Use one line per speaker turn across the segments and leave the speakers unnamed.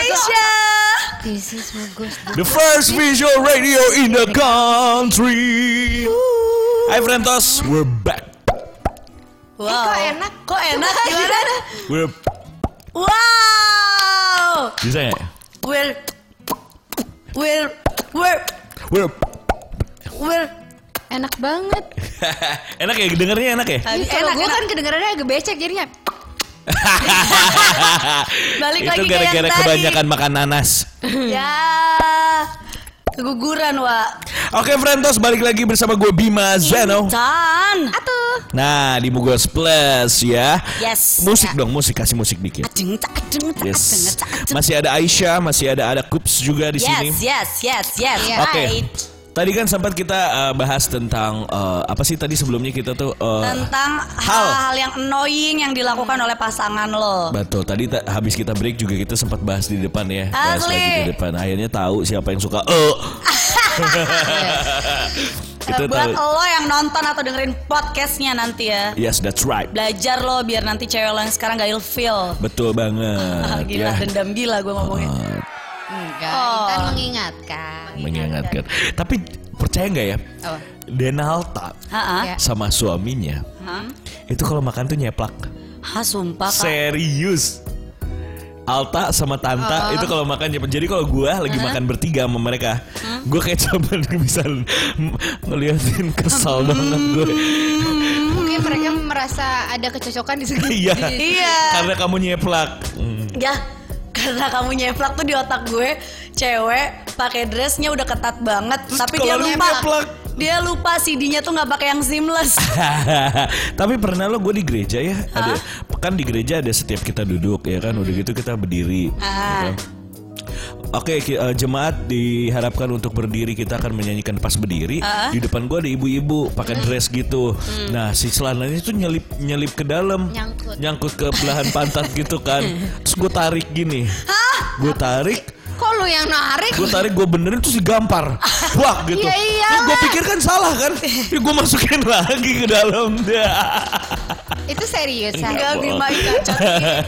Indonesia.
This is bagus.
The first visual radio in the country. Hai Frentos, we're back.
Wow.
Oh.
kok enak? Kok enak? Gimana?
We're
wow.
bisa nggak ya?
Will. Will. Will.
We're
Will.
Enak banget.
enak ya, dengernya enak ya.
Habis enak,
Kalau gue
enak.
kan kedengarannya agak becek jadinya.
Balik
Itu
lagi ke yang
gara-gara
tadi.
kebanyakan makan nanas.
Ya. Keguguran, Wak.
Oke Frentos, balik lagi bersama gue Bima
Iya,
Zeno.
Intan.
Atuh.
Nah di Mugos Plus ya.
Yes.
Musik dong, musik kasih musik dikit.
Aceng, cak, aceng, cak, aceng,
Yes.
cak, aceng.
Masih ada Aisyah, masih ada ada Kups juga di sini.
Yes, yes, yes, yes.
Iya.
Oke.
Right.
Tadi kan sempat kita uh, bahas tentang uh, apa sih tadi sebelumnya kita tuh uh,
Tentang
Hal.
hal-hal yang annoying yang dilakukan oleh pasangan lo.
Betul, tadi ta- habis kita break juga kita sempat bahas di depan ya. Bahas
Asli.
lagi di depan. Akhirnya tahu siapa yang suka eh. kita
Eh, Buat
tahu.
lo yang nonton atau dengerin podcastnya nanti ya.
Yes, that's right.
Belajar lo biar nanti cewek lo yang sekarang gak ilfeel.
Betul banget
Gila,
ya.
dendam gila gue
Oh.
ngomongnya.
Enggak,
Oh.
Intan mengingatkan. Oh.
Mengingatkan. Tapi percaya nggak ya?
Apa?
Denalta
Hah?
Ya.
sama suaminya
Hah?
itu kalau makan tuh nyeplak.
Hah, sumpah, Kak.
Serius. Alta sama Tanta itu kalau makan nyeplak. Jadi kalau gua lagi makan bertiga sama mereka, gua kayak cuman bisa m- ngeliatin kesal
Hmm.
banget gue.
Mungkin mereka merasa ada kecocokan di segi
Iya.
Iya.
Karena kamu nyeplak. Hmm.
Ya, karena kamu nyeplak tuh di otak gue, cewek pakai dressnya udah ketat banget,
Terus
tapi dia
kalau
lupa.
nyeplak?
Dia lupa CD-nya tuh nggak pakai yang seamless.
Tapi pernah lo gue di gereja ya, ada kan di gereja ada setiap kita duduk ya kan, udah gitu kita berdiri.
Ah.
ya kan. Oke, ki- eh, jemaat diharapkan untuk berdiri kita akan menyanyikan pas berdiri. Di depan gue ada ibu-ibu pakai dress gitu. Nah, si celananya itu nyelip nyelip ke dalam,
Mm. Nyangkut.
ke belahan pantat gitu kan. Terus gue tarik gini, gue tarik.
Kok lu yang narik?
gue tarik gue benerin terus digampar wah gitu
Iya, iyalah.
gue pikir kan salah kan ya gue masukin lagi ke dalam
Itu serius
Iya.
Enggak
Sar.
Bima kacau.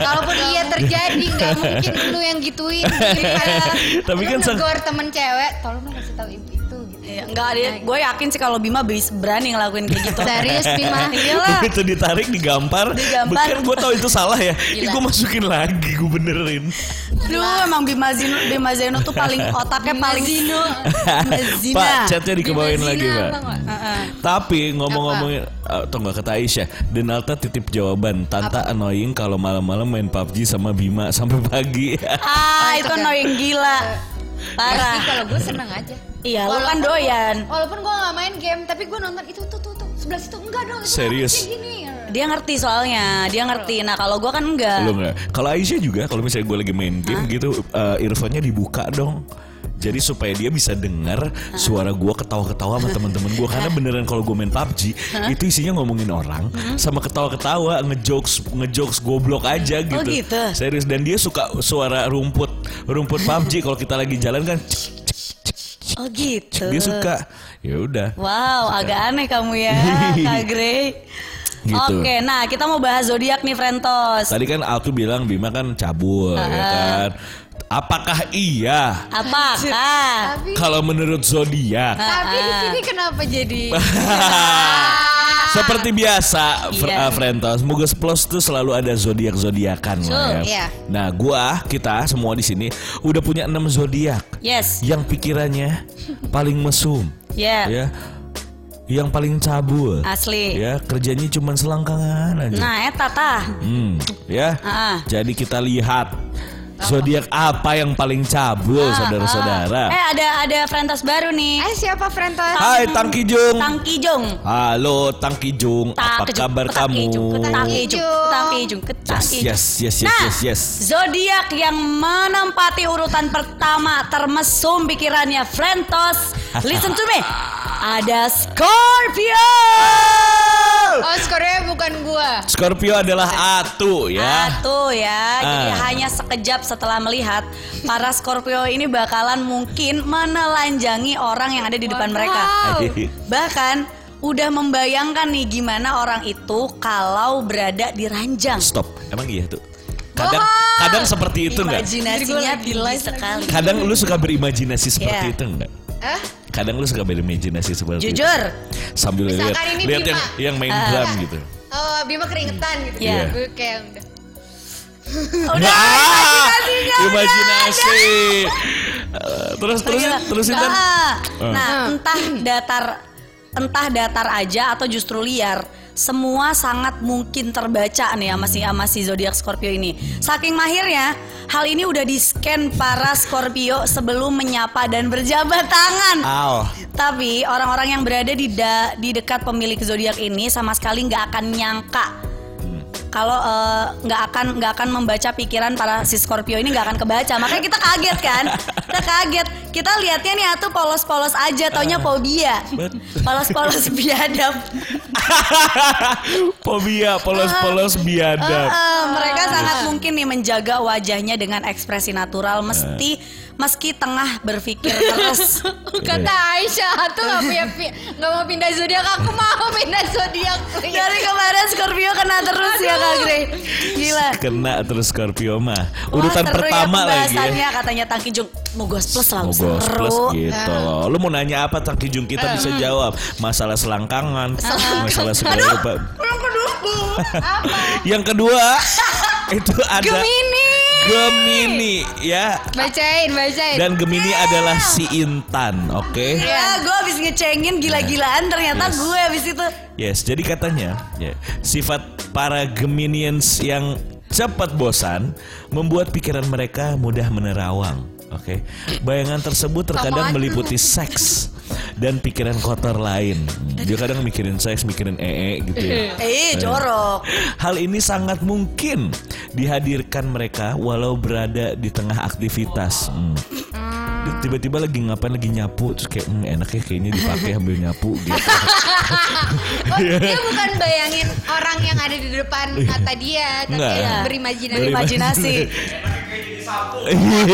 Kalaupun iya terjadi nggak mungkin lu yang gituin. Daripada
Iya. Tapi
lu
kan sang-
negor temen cewek, tolong dong kasih tahu ibu itu gitu.
Iya, Enggak, dia, gue yakin sih kalau Bima bis- berani ngelakuin kayak gitu.
Serius Bima.
Iyalah.
itu ditarik digampar
Digampar.
bukan gue tau itu salah ya gue masukin lagi gue benerin
Aduh, emang Bima Zeno, Bima Zeno tuh paling otaknya paling Zino. Zina.
pak chatnya dikebawain
Gimana
lagi
Zina,
pak
Bang, Wak?
tapi ngomong-ngomongin atau nggak kata Aisyah Denalta titip jawaban Tanta annoying kalau malam-malam main PUBG sama Bima sampai pagi
Ah, itu
itu kan.
annoying Eh. gila.
Pasti
Parah.
kalau gue seneng aja.
Iya, lo kan
Walaupun-
doyan.
Walaupun gue nggak main game, tapi gue nonton itu tuh tuh tuh sebelah situ enggak dong. itu
Serius?
kayak Gini.
Dia ngerti soalnya, dia ngerti. Nah, kalau gue kan enggak.
Lo nggak? ya. Kalau Aisyah juga kalau misalnya gue lagi main game gitu eh, earphone-nya dibuka dong. Jadi supaya dia bisa dengar suara gue ketawa-ketawa sama teman-teman gue karena beneran kalau gue main PUBG itu isinya ngomongin orang sama ketawa-ketawa ngejokes ngejokes goblok aja gitu.
gitu.
Serius dan dia suka suara rumput rumput PUBG kalau kita lagi jalan kan cik, cik, cik, cik.
Oh gitu.
dia suka. Ya udah.
Wow, agak aneh kamu ya, Kak Grey.
Gitu.
Oke, nah kita mau bahas zodiak nih, Frentos.
Tadi kan aku bilang Bima kan cabul ya kan. Apakah iya?
Apakah?
Tapi
Kalau
ah.
menurut zodiak,
tapi di sini kenapa jadi?
seperti biasa, Fr-
Ah. Iya.
uh, Frentos, Mugos Plus tuh selalu ada zodiak zodiakan lah
Betul,
iya.
ya. Nah, gua kita semua di sini udah punya enam zodiak
Yes.
yang pikirannya paling mesum,
Ya.
ya, yang paling cabul,
Asli.
ya, kerjanya cuma selangkangan aja.
Nah, eta tah.
Hmm, ya.
Ah.
Jadi kita lihat zodiak apa yang paling cabul,
Ah,
saudara-saudara.
Eh, ada ada Frentos baru nih.
Eh siapa Frentos?
Hai Tang Kijung.
Tang Kijung.
Halo Tang Kijung, apa
Tang Kijung,
kabar
Tang
kamu?
Kijung, Tang Kijung, Tang Kijung, Tang
Yes,
Kijung.
yes, yes, yes,
Nah,
yes, yes.
zodiak yang menempati urutan pertama termesum pikirannya Frentos. Listen to me. Ada Scorpio.
Oh Scorpio bukan gua.
Scorpio adalah Atu ya.
Satu ya, jadi
Ah.
hanya sekejap setelah melihat para Scorpio ini bakalan mungkin menelanjangi orang yang ada di depan mereka. Bahkan udah membayangkan nih gimana orang itu kalau berada di ranjang.
Stop. Emang iya tuh. Kadang kadang seperti itu nggak?
Imajinasinya tinggi sekali.
Kadang lu suka berimajinasi
Iya.
seperti itu nggak?
Hah?
Kadang lu suka berimajinasi seperti itu.
Jujur,
Sambil
Misalkan
lihat
ini
lihat yang
Bima.
yang
Eh.
main drum gitu.
Oh, Bima keringetan gitu.
Iya.
Gue kayak udah.
udah
Wah,
imajinasinya udah
Nah, imajinasi. Eh, terus terus
Gila.
terus Intan.
Ah.
Eh.
Nah, entah datar entah datar aja atau justru liar, semua sangat mungkin terbaca nih sama si sama si zodiak Scorpio ini. Saking mahirnya, hal ini udah di-scan para Scorpio sebelum menyapa dan berjabat tangan.
Al.
Tapi orang-orang yang berada di da- di dekat pemilik zodiak ini sama sekali nggak akan nyangka kalau eh, nggak akan nggak akan membaca pikiran para si Scorpio ini nggak akan kebaca. Makanya kita kaget kan? Kita kaget. Kita lihatnya nih atuh polos-polos aja, taunya fobia.
Bet.
Polos-polos biadab.
Fobia polos-polos biadab.
Eh, eh, mereka sangat mungkin nih menjaga wajahnya dengan ekspresi natural mesti meski tengah berpikir keras.
Kata Aisyah tuh gak punya pi- gak mau pindah zodiak aku mau pindah zodiak Iya, please.
Dari kemarin Scorpio kena terus ya Kak Grey. Gila.
Kena terus Scorpio mah.
Wah,
Urutan
seru
pertama
ya
lagi. ya.
pembahasannya katanya Tang Kijung Mogos Plus langsung
Mogos
seru. Hmm.
plus gitu loh. Lu mau nanya apa Tang Kijung kita bisa jawab. Masalah selangkangan, masalah segala apa.
Yang kedua.
Yang kedua itu ada
Gemini.
Gemini ya.
Bacain, bacain.
Dan Gemini adalah si Intan, oke?
Ya, gue habis ngecengin gila-gilaan ternyata gue habis itu.
Yes, jadi katanya ya, sifat para Geminians yang cepat bosan membuat pikiran mereka mudah menerawang. Oke, bayangan tersebut terkadang meliputi seks dan pikiran kotor lain. Dia kadang mikirin seks, mikirin ee gitu ya.
Eh, jorok.
Hal ini sangat mungkin dihadirkan mereka walau berada di tengah aktivitas. Hmm. Tiba-tiba lagi ngapain lagi nyapu terus kayak "Hmm, enaknya kayaknya dipakai ambil nyapu gitu.
Oh, dia bukan bayangin orang yang ada di depan mata dia, tapi ya,
Nggak.
yang berimajinasi.
Berimajinasi.
Berimajinasi.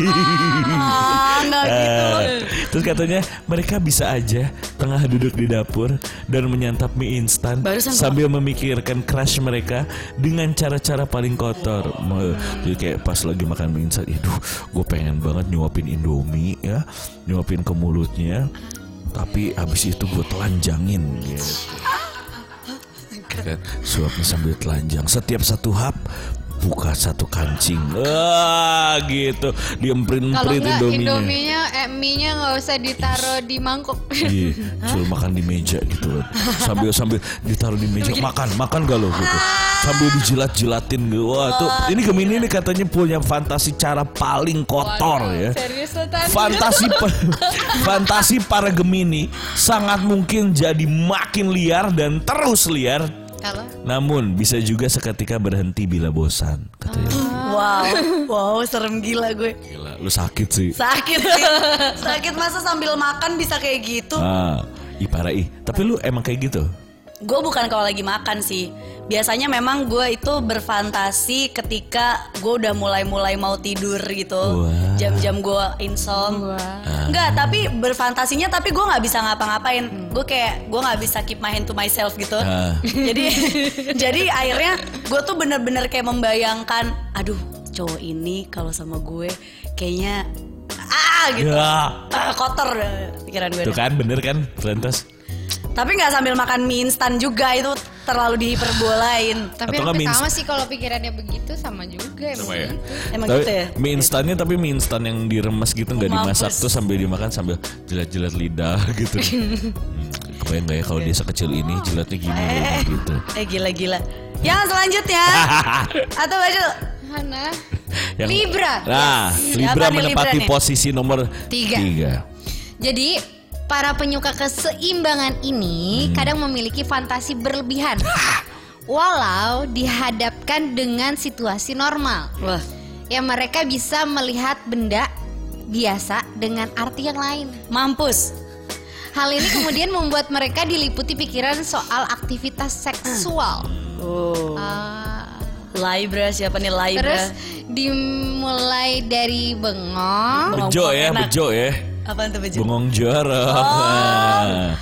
Ah, enggak gitu.
Eh, Terus katanya mereka bisa aja tengah duduk di dapur dan menyantap mie instan
Barusan
sambil memikirkan crush mereka dengan cara-cara paling kotor. Me- Jadi kayak pas lagi makan mie instan, aduh, gue pengen banget nyuapin Indomie ya, nyuapin ke mulutnya. Tapi habis itu gue telanjangin gitu. Kan, Suapnya sambil telanjang Setiap satu hap Buka satu kancing Wah gitu
Kalau
Diemperin-emperin
enggak
Indominya
Indominya, eh, mie-nya nggak usah ditaruh di mangkuk.
Iya, suruh makan di meja gitu loh. Sambil sambil ditaruh di meja, makan, makan gak lo gitu. Sambil dijilat-jilatin gitu. Wah, tuh ini Gemini ini katanya punya fantasi cara paling kotor ya.
Serius lo Tan?
Fantasi pa- fantasi para Gemini sangat mungkin jadi makin liar dan terus liar.
Kalau
Namun bisa juga seketika berhenti bila bosan katanya.
Oh. Wow, wow, serem gila gue.
Gila, lu sakit sih.
Sakit sih. Sakit masa sambil makan bisa kayak gitu.
Ah, ih parah ih. Tapi lu emang kayak gitu?
Gue bukan kalau lagi makan sih. Biasanya memang gue itu berfantasi ketika gue udah mulai-mulai mau tidur gitu.
Wah.
Jam-jam gue insom. Enggak, tapi berfantasinya tapi gue nggak bisa ngapa-ngapain. Gue kayak gue nggak bisa keep my hand to myself gitu.
Ah.
jadi jadi akhirnya gue tuh bener-bener kayak membayangkan, aduh cowok ini kalau sama gue kayaknya ah gitu.
Ya.
Ah, kotor dah pikiran gue.
Tuh kan bener kan Lantas
Tapi nggak sambil makan mie instan juga itu terlalu dihiperbolain.
tapi
Atau nggak
hampir
mie
sama sih kalau pikirannya begitu sama juga emang gitu.
Emang
tapi,
gitu ya?
Mie instannya tapi mie instan yang diremes gitu nggak
Mampus.
dimasak tuh sambil dimakan sambil jilat-jilat lidah gitu. hmm, kebayang nggak ya kalau dia sekecil
Oh.
ini jilatnya gini loh, gitu.
Eh gila-gila. Yang selanjutnya atau baju
ya?
Hana.
Yang-
Libra.
Nah,
Yes.
Libra
Apa nih
menempati
Libra nih?
posisi nomor
Tiga. Jadi para penyuka keseimbangan ini
Hmm.
kadang memiliki fantasi berlebihan. Walau dihadapkan dengan situasi normal.
Wah,
Ya mereka bisa melihat benda biasa dengan arti yang lain.
mampus.
Hal ini kemudian membuat mereka diliputi pikiran soal aktivitas seksual.
Oh.
Ah,
Libra siapa nih Libra?
terus dimulai dari bengong,
Bengong
Bejo ya,
Oh, enak. Oh.
bejo ya.
Apaan tuh baju?
Bengong jorok. Nah.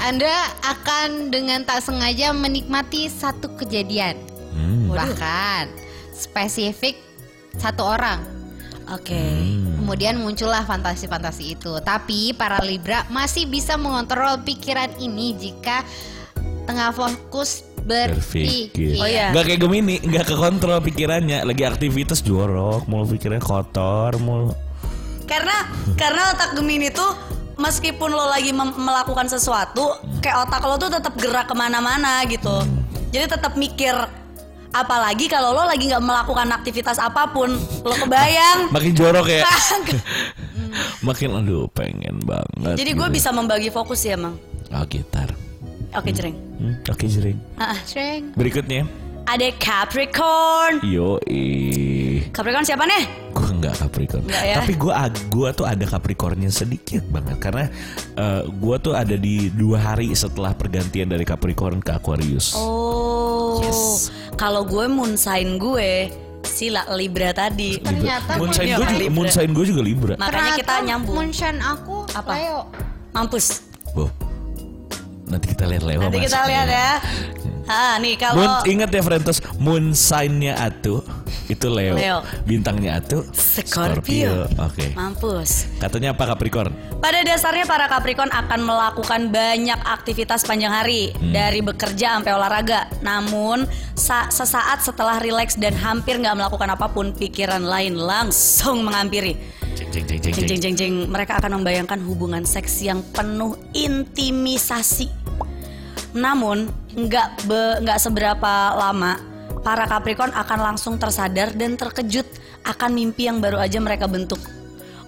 Anda akan dengan tak sengaja menikmati satu kejadian.
Hmm.
Bahkan spesifik satu orang.
Oke.
Hmm.
Hmm.
Kemudian muncullah fantasi-fantasi itu. Tapi para Libra masih bisa mengontrol pikiran ini jika tengah fokus berpikir.
Berpikir.
Oh, iya.
Gak kayak Gemini, gak ke kontrol pikirannya. Lagi aktivitas jorok, mulu pikirannya kotor, mulu.
Karena karena otak Gemini tuh meskipun lo lagi mem- melakukan sesuatu, kayak otak lo tuh tetap gerak kemana-mana gitu. Jadi tetap mikir. Apalagi kalau lo lagi nggak melakukan aktivitas apapun, lo kebayang. kan?
Makin jorok ya. Makin aduh pengen banget.
Jadi gue bisa membagi fokus ya, Mang.
Ah, gitar.
Oke, jering.
Hmm, Oke, jering.
Ah, ah.
Shrek.
Berikutnya.
ada Capricorn.
Yoi.
Capricorn siapa nih?
Gue nggak Capricorn.
Nggak ya?
Tapi gue gue tuh ada Capricornnya sedikit banget karena gue tuh ada di dua hari setelah pergantian dari Capricorn ke Aquarius.
Oh.
Yes.
Kalau gue moon sign gue sila Libra tadi.
Libra. ternyata
moon sign
punya
gue juga,
Libra.
moon sign gua juga Libra.
Makanya kita
Ternyata
nyambung.
Moonshine aku
Apa?
Leo.
Mampus.
Bo, nanti kita lihat lewat.
Nanti kita lihat ya. Ah, nih kalau
Oh, Moon, ingat ya Frentos, moon sign-nya Atu itu Leo.
Leo.
Bintangnya Atu
Scorpio.
Oke.
Mampus.
Katanya apa Capricorn?
Pada dasarnya para Capricorn akan melakukan banyak aktivitas panjang hari
Hmm.
dari bekerja sampai olahraga. Namun sa- sesaat setelah rileks dan hampir nggak melakukan apapun, pikiran lain langsung menghampiri.
Jeng jeng jeng jeng.
Jeng jeng jeng jeng, mereka akan membayangkan hubungan seks yang penuh intimisasi. Namun nggak be- nggak seberapa lama para Capricorn akan langsung tersadar dan terkejut akan mimpi yang baru aja mereka bentuk.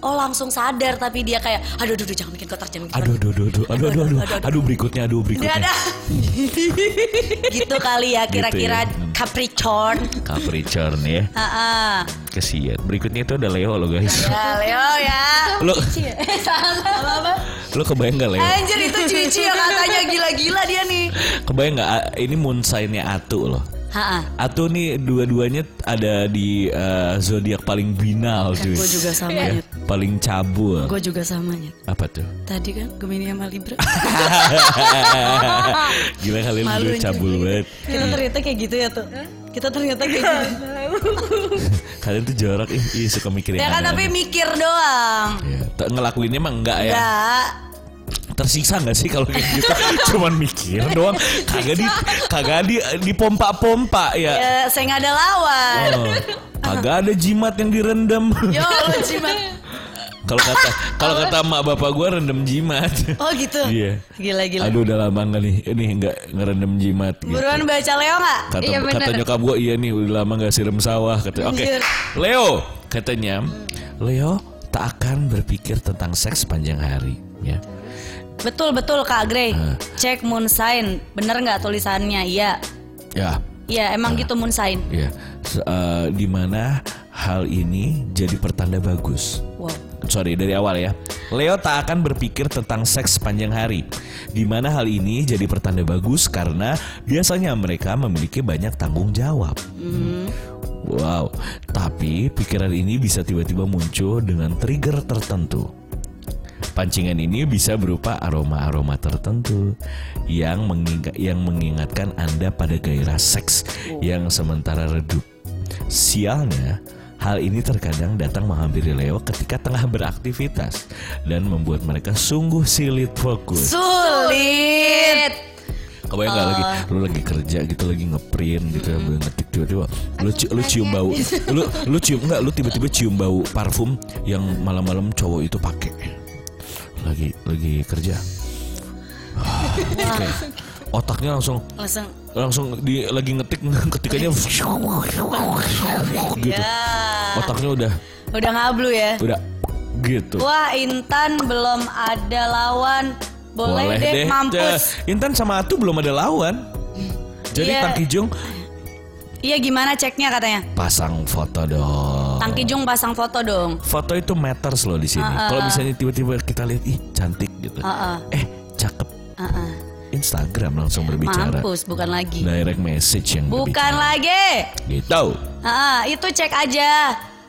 Oh langsung sadar tapi dia kayak aduh aduh, aduh, jangan bikin kotor jangan bikin
Aduh aduh aduh aduh aduh aduh aduh aduh berikutnya aduh
kotor. Dia
berikutnya.
ada. gitu kali ya kira-kira
Gitu ya.
Capricorn.
Capricorn ya.
Ah, ah.
Kesian. Berikutnya itu ada Leo loh guys.
Ya Leo ya.
Lo
Apa Eh, apa?
lo kebayang gak Leo?
Anjir itu Cici yang katanya gila-gila dia nih.
Kebayang gak ah, ini moon sign-nya Atu loh.
Ha-ha.
Atu nih dua-duanya ada di eh, zodiak paling binal cuy.
Gue Kan juga sama
Ya,
Nyet.
paling cabul.
Gue juga sama Nyet.
Apa tuh?
Tadi kan Gemini sama Libra.
Gila kalian
Malu,
berdua
anjing.
cabul banget.
Kita ternyata kayak gitu ya tuh. Kita ternyata kayak gitu.
Kalian tuh jorok ih, ih, suka mikirin.
ya kan tapi mikir doang.
Ya, t- ngelakuinnya emang enggak ya.
Enggak.
Tersiksa enggak sih kalau kayak gitu? Cuman mikir doang. Kagak di kagak di dipompa-pompa ya.
Ya, saya nggak ada lawan.
Iya.
Oh, kagak ada jimat yang direndam.
Yo, lu jimat.
Kalau kata kalau kata mak bapak gua rendem jimat.
Oh gitu.
Iya.
Gila-gila.
Aduh udah lama enggak nih. Ini enggak ngerendam jimat gitu.
Buruan baca Leo nggak?
Kata,
Iya, bener.
kata nyokap gue iya nih udah lama gak siram sawah kata oke
Anjir.
Leo katanya Leo tak akan berpikir tentang seks sepanjang hari ya
Betul betul Kak Grey.
Ah.
Cek moon sign. Bener nggak tulisannya? Iya.
ya
Iya, emang gitu moon sign.
ya S- eh, di mana hal ini jadi pertanda bagus
Wow.
sorry dari awal ya Leo tak akan berpikir tentang seks sepanjang hari di mana hal ini jadi pertanda bagus karena biasanya mereka memiliki banyak tanggung jawab
Hmm.
Wow, tapi pikiran ini bisa tiba-tiba muncul dengan trigger tertentu. Pancingan ini bisa berupa aroma-aroma tertentu yang mengingat, yang mengingatkan Anda pada gairah seks yang sementara redup. Sialnya, hal ini terkadang datang menghampiri Leo ketika tengah beraktivitas dan membuat mereka sungguh sulit fokus.
Sulit.
Kebayang nggak lagi
Ah.
lu lagi kerja gitu lagi ngeprint gitu lu ngetik tiba-tiba lu, ci- lu cium bau
Iya.
lu lu cium nggak lu tiba-tiba cium bau parfum yang malam-malam cowok itu pakai lagi lagi kerja Ah, oke. otaknya langsung
Langsung
langsung di lagi ngetik ketikannya gitu
ya.
otaknya udah
Udah ngablu ya.
udah gitu
Wah Intan belum ada lawan Boleh, deh, mampus
Eh, Intan sama Atu belum ada lawan jadi
Iya.
Tang Kijung
Iya gimana ceknya katanya
pasang foto dong
Tang Kijung pasang foto dong
foto itu matters loh di sini. Kalau misalnya tiba-tiba kita lihat ih cantik gitu.
Heeh.
Eh, cakep.
Heeh.
Instagram langsung berbicara.
Mampus bukan lagi
Nah, Direct message yang
Bukan
berbicara.
lagi
Gitu.
Heeh, Itu cek aja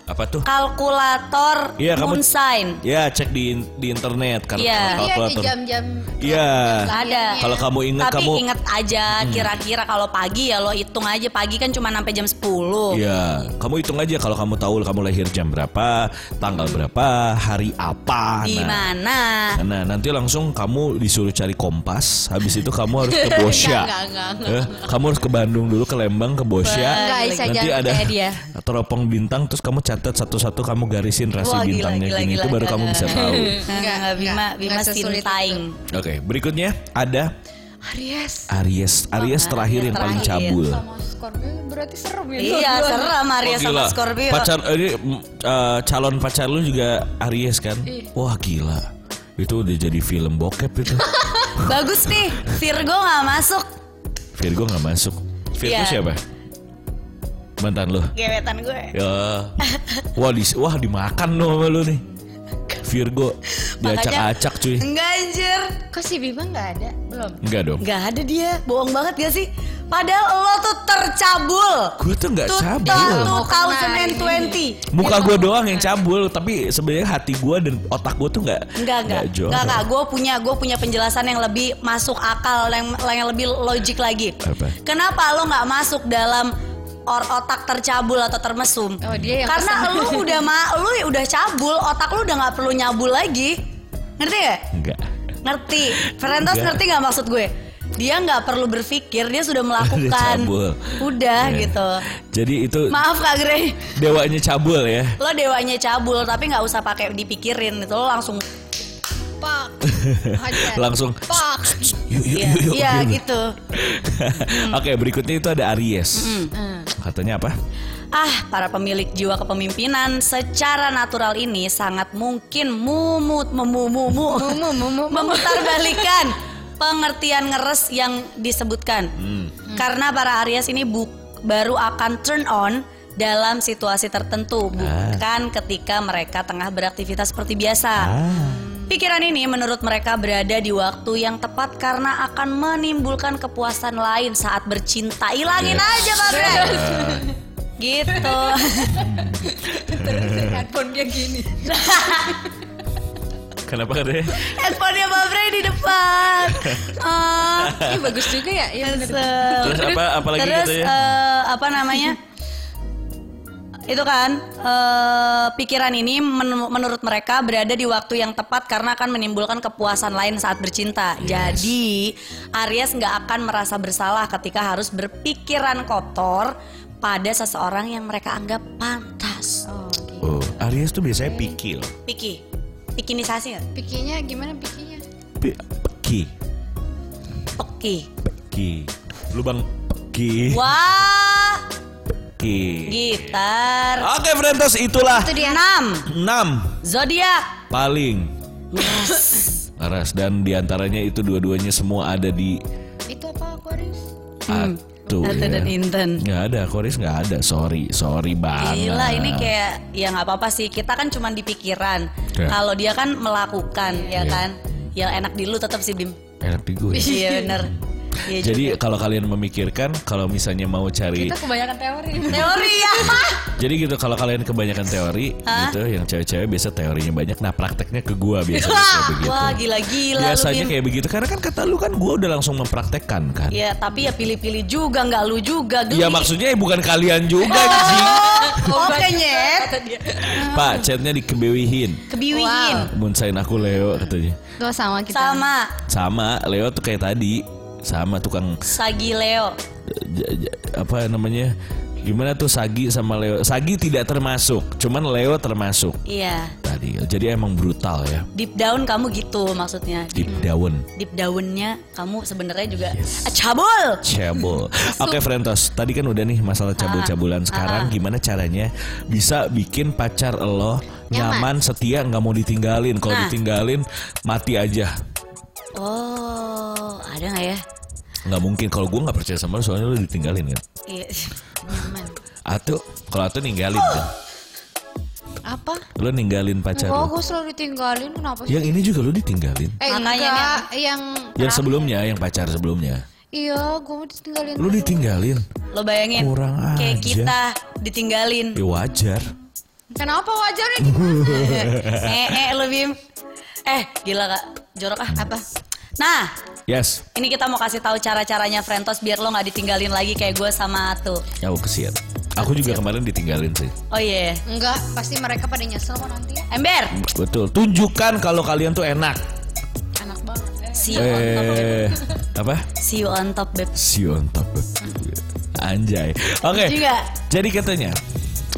Apa tuh?
Kalkulator
Iya, kamu-
Moonshine.
Ya cek di di internet karena
Iya.
kalau
Iya di
kalkulator.
jam-jam.
Iya.
Nggak ada.
Kalau kamu ingat
Tapi
kamu Hmm.
inget aja kira-kira kalau pagi ya lo hitung aja pagi kan cuma sampai jam 10.
Iya, kamu hitung aja kalau kamu tahu kamu lahir jam berapa, tanggal berapa, hari apa.
Di
Nah,
mana?
nah, nanti langsung kamu disuruh cari kompas, habis itu kamu harus ke Bosya.
Enggak, enggak, enggak,
Eh, Kamu harus ke Bandung dulu, ke Lembang, ke Bosya.
Enggak, Aisyah
Nanti
jangan
ada
percaya dia.
teropong bintang, terus kamu catat satu-satu, kamu garisin rasi
Wah, gila,
bintangnya
gila,
gini,
gila,
itu baru
gila,
kamu bisa
gila.
tahu.
Enggak,
Enggak,
Bima,
enggak.
Bima
Nggak sesulit
Sintaing.
Oke, berikutnya ada
Aries.
Aries. Aries terakhir yang paling
terakhir.
cabul.
Sama Scorpio berarti serem ya.
Iya,
dua-duanya.
serem Aries
Oh,
sama
gila.
Scorpio.
Pacar ini mm, eh, calon pacar lu juga Aries kan? Wah gila. Itu udah jadi film bokep itu.
Bagus nih, Virgo nggak masuk.
Virgo nggak masuk. Virgo
Iya.
siapa? Mantan lu.
Gebetan gue.
Ya. Wah, di, wah dimakan lu sama lu nih. Virgo diacak-acak cuy.
Enggak anjir.
Eh, Kok si Bima nggak ada? Belum.
Enggak dong.
Enggak ada dia, bohong banget gak sih? Padahal lo tuh tercabul.
Gue tuh nggak
Tuta-
cabul.
Mau kena ini.
2020.
Muka gue doang yang cabul, tapi sebenarnya hati gue dan otak gue tuh nggak
Enggak, enggak.
jorok.
Enggak, enggak. Gue punya gue punya penjelasan yang lebih masuk akal, yang yang lebih logik lagi.
Apa?
Kenapa lo nggak masuk dalam or otak tercabul atau termesum?
Oh, dia yang
Karena
pesen.
lu udah ma lu ya udah cabul, otak lu udah nggak perlu nyabul lagi. Ngerti gak?
Enggak.
Ngerti. Ferentos
Enggak.
ngerti nggak maksud gue? Dia nggak perlu berpikir, dia sudah melakukan.
cabul.
udah
Iya.
gitu.
Jadi itu
Maaf Kak Grey.
dewanya cabul ya.
Lo dewanya cabul tapi nggak usah pakai dipikirin itu lo langsung
Pak. Hajar.
Langsung
Pak.
yuk yuk
Iya,
yuk yuk.
iya
gitu.
gitu. Hmm.
Oke, berikutnya itu ada Aries.
Hmm.
Katanya apa?
Ah, para pemilik jiwa kepemimpinan secara natural ini sangat mungkin mumut memumumu
Mumu, mumu, mumu.
memutarbalikan pengertian ngeres yang disebutkan.
Hmm.
Karena para Aries ini bu- baru akan turn on dalam situasi
Ah.
tertentu, bukan ketika mereka tengah beraktivitas seperti biasa.
Ah.
Pikiran ini menurut mereka berada di waktu yang tepat karena akan menimbulkan kepuasan lain saat bercinta. Ilangin
Yes.
aja Pak Bre. Gitu.
Handphone dia gini.
Kenapa katanya?
Handphonenya Pak Bre di depan. Ah,
Ih bagus juga ya. Iya bener.
Terus apa apa lagi
Terus
katanya?
eh, apa namanya? Itu kan eh, pikiran ini men- menurut mereka berada di waktu yang tepat karena akan menimbulkan kepuasan lain saat bercinta. Jadi Aries nggak akan merasa bersalah ketika harus berpikiran kotor pada seseorang yang mereka anggap pantas.
Oh, oke.
oh, Aries tuh biasanya pikil.
Piki, pikinisasi nggak?
Pikinya gimana pikinya?
Pi- Peki.
Peki.
Peki. Lubang peki.
Wah,
Peki.
gitar.
Oke, Frentos itulah
Itu dia.
6.
6
Zodiak.
paling Aras dan diantaranya itu dua-duanya semua ada di
Itu apa Aquarius?
Hmm.
Atu,
Atu
ya.
dan Inten.
Nggak ada, Aquarius nggak ada. Sorry, sorry banget.
Gila ini kayak ya nggak apa-apa sih kita kan cuman di pikiran
Ya.
kalau dia kan melakukan ya
Ya.
kan yang enak di lu tetap sih Bim
enak di gue.
iya bener Iya Gitu.
Jadi
juga.
kalau kalian memikirkan kalau misalnya mau cari
Kita kebanyakan teori.
teori ya
jadi gitu kalau kalian kebanyakan teori gitu yang cewek-cewek biasa teorinya banyak nah prakteknya ke gua biasanya kayak begitu.
wah gila-gila lu
biasanya
Bim
kayak begitu karena kan kata lu kan gua udah langsung mempraktekkan kan.
ya tapi ya pilih-pilih juga nggak lu juga geli.
Ya maksudnya ya bukan kalian juga Ji.
oh, oke nyet
Pak, chatnya dikebewihin.
kebiwiin
Munsain aku Leo katanya.
Tuh sama kita.
sama
Sama, Leo tuh kayak tadi sama tukang
Sagi Leo
j- j- apa namanya gimana tuh Sagi sama Leo Sagi tidak termasuk cuman Leo termasuk
iya
tadi jadi emang brutal ya
deep down kamu gitu maksudnya
deep down
deep downnya kamu sebenarnya juga Ah, cabul
cabul oke Frentos tadi kan udah nih masalah cabul-cabulan sekarang gimana caranya bisa bikin pacar lo nyaman, setia nggak mau ditinggalin kalau
Nah.
ditinggalin mati aja
oh ada nggak ya
nggak mungkin kalau gue nggak percaya sama lo soalnya lo ditinggalin kan
Iya.
Nyaman.
Atuh kalau Atuh ninggalin kan
Apa?
lo ninggalin pacar
Enggak,
lo
gue selalu ditinggalin kenapa sih?
yang ini juga lo ditinggalin
Eh,
Makanya
enggak, yang
Yang sebelumnya, yang pacar sebelumnya.
Iya, gue mau ditinggalin.
Lu ditinggalin.
Lo bayangin
Kurang
kayak
aja.
kita ditinggalin.
Ya wajar.
Kenapa wajarnya gimana?
Iya.
eh, eh lu Bim. Eh, gila kak. Jorok ah.
Apa?
Nah,
Yes.
ini kita mau kasih tahu cara-caranya Frentos biar lo nggak ditinggalin lagi kayak gue sama tuh.
Ya aku kesian. Aku juga kemarin ditinggalin sih.
Oh iya.
Enggak, pasti mereka pada nyesel kok nanti ya.
Ember.
Betul. Tunjukkan kalau kalian tuh enak.
Enak banget. ya.
See you on top. babe.
Eh, apa?
See you on top, beb.
Sion top. Anjay. Oke.
Juga.
Jadi katanya,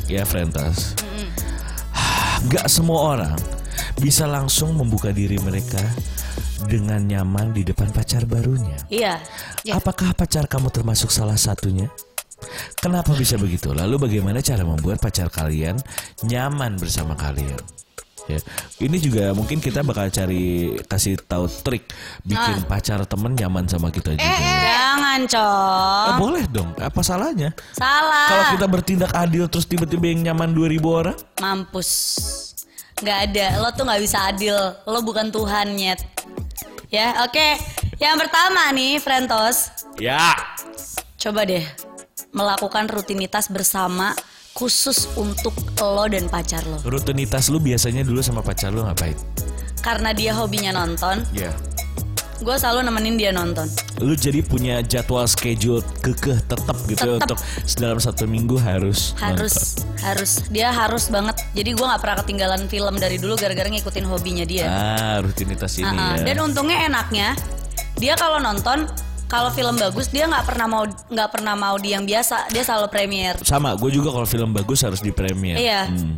ya Frentas, nggak semua orang bisa langsung membuka diri mereka dengan nyaman di depan pacar barunya.
Iya.
Ya.
Apakah pacar kamu termasuk salah satunya? Kenapa bisa begitu? Lalu bagaimana cara membuat pacar kalian nyaman bersama kalian? Ya, ini juga mungkin kita bakal cari kasih tahu trik bikin pacar temen nyaman sama kita juga.
eh. Jangan,
Eh,
Cok.
boleh dong. Apa salahnya?
Salah.
Kalau kita bertindak adil terus tiba-tiba yang nyaman 2000 orang?
Mampus. Nggak ada. Lo tuh nggak bisa adil. Lo bukan Tuhan, Nyet. Ya, oke. Yang pertama nih, Frentos.
Ya.
Coba deh melakukan rutinitas bersama khusus untuk lo dan pacar lo.
Rutinitas lu biasanya dulu sama pacar lu ngapain?
Karena dia hobinya nonton,
Ya.
gue selalu nemenin dia nonton.
Lu jadi punya jadwal schedule kekeh tetap gitu
Tetep.
untuk dalam satu minggu harus nonton.
Harus, harus. Dia harus banget. Jadi gue nggak pernah ketinggalan film dari dulu gara-gara ngikutin hobinya dia.
Ah, rutinitas ini
ya. Ah, ah.
ya.
Dan untungnya enaknya dia kalau nonton kalau film bagus dia nggak pernah mau nggak pernah mau di yang biasa dia selalu premier
Sama, gue juga kalau film bagus harus di premier.
Iya.
Hmm.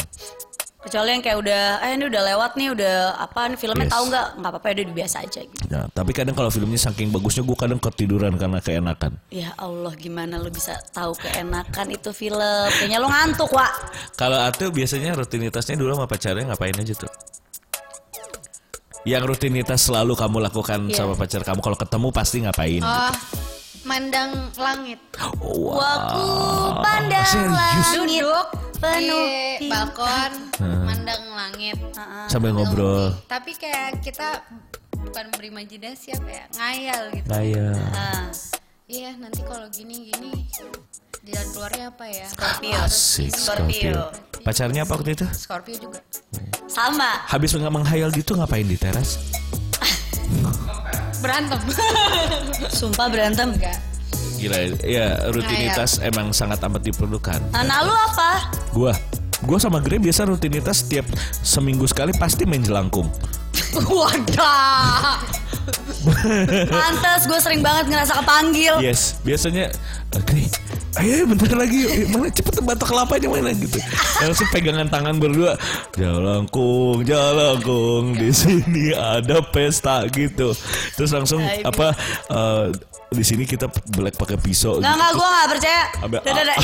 kecuali yang kayak udah eh ini udah lewat nih udah apa nih filmnya
Yes.
tahu nggak nggak apa-apa ya udah biasa aja gitu.
Nah, tapi kadang kalau filmnya saking bagusnya gue kadang ketiduran karena keenakan.
Ya Allah gimana lu bisa tahu keenakan itu film Kayaknya lu ngantuk Wak
Kalau Ate biasanya rutinitasnya dulu sama pacarnya ngapain aja tuh? Yang rutinitas selalu kamu lakukan
Iya.
sama pacar kamu kalau ketemu pasti ngapain?
Oh, mandang langit.
Wow.
Waku Oh, pandang
Serius?
langit penuh
Di
di-
Iya, balkon, mandang langit. Ah,
Sambil ngobrol.
Tapi kayak kita bukan berimajinasi apa ya, ngayal gitu.
Kayak
Ah,
Iya, nanti kalau gini-gini jalan keluarnya apa ya?
Scorpio
asik Scorpio. Pacarnya apa waktu itu?
Scorpio juga.
Sama
Habis nggak menghayal gitu ngapain di teras?
Berantem.
Sumpah berantem
Enggak.
Gila, ya rutinitas emang sangat amat diperlukan.
Nah, nah lu apa?
Gua, gua sama Gre biasa rutinitas setiap seminggu sekali pasti main jelangkung.
Wadah.
Pantes gue sering banget ngerasa kepanggil
Yes, biasanya "Eh, Gre, ayo ayo, bentar lagi, yuk. Eh, mana cepet batok kelapa ini mana gitu. Langsung pegangan tangan berdua, jalangkung, jalangkung di sini ada pesta gitu. Terus langsung apa? eh, di sini kita belek pakai pisau.
Nggak,
gitu.
nggak, gue nggak percaya.
Ambil-
Udah, udah, udah.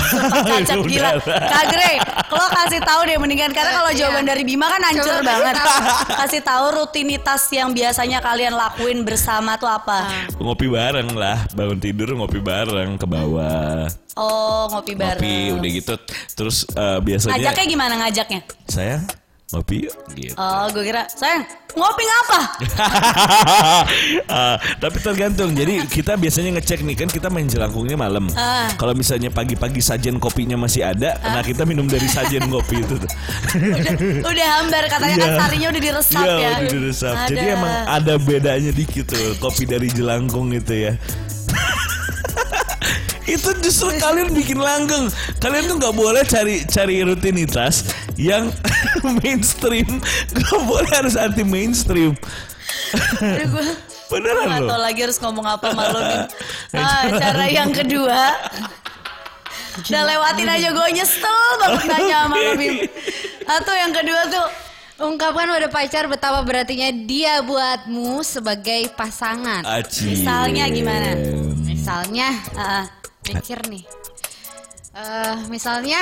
Cacat
Udah.
gila. Kak Gre, lo kasih tahu deh mendingan. Karena kalau
Iya.
jawaban dari Bima kan hancur
Coba
banget.
kasih
Kasih tahu rutinitas yang biasanya kalian lakuin bersama tuh
Ah.
apa?
Ngopi bareng lah, bangun tidur ngopi bareng ke bawah.
Oh, ngopi
Ngopi
bareng.
udah gitu. Terus eh, biasanya
Ngajaknya gimana ngajaknya?
sayang ngopi yuk," gitu.
Oh, gue kira, sayang, ngopi ngapa?
Ah, tapi tergantung. Jadi kita biasanya ngecek nih kan kita main jelangkungnya malam.
Ah.
Kalau misalnya pagi-pagi sajen kopinya masih ada, nah kita minum dari sajen kopi itu. tuh.
Udah, udah hambar, katanya kan
Iya.
sarinya udah diresap
Iya,
ya.
udah diresap. Jadi
Ada.
emang ada bedanya dikit tuh kopi dari jelangkung itu ya. itu justru kalian bikin langgeng. Kalian tuh nggak boleh cari cari rutinitas yang mainstream. Gak boleh harus anti mainstream.
Aduh, gue
Beneran
nggak
loh.
tahu lagi harus ngomong apa malu Bim. Ah, cara yang kedua. Udah lewatin aja gue nyesel banget nanya sama lo Bim. Atau yang kedua tuh
Ungkapkan pada pacar betapa berartinya dia buatmu sebagai pasangan.
Aci.
Misalnya gimana?
Misalnya,
ah,
mikir nih. Eh, misalnya,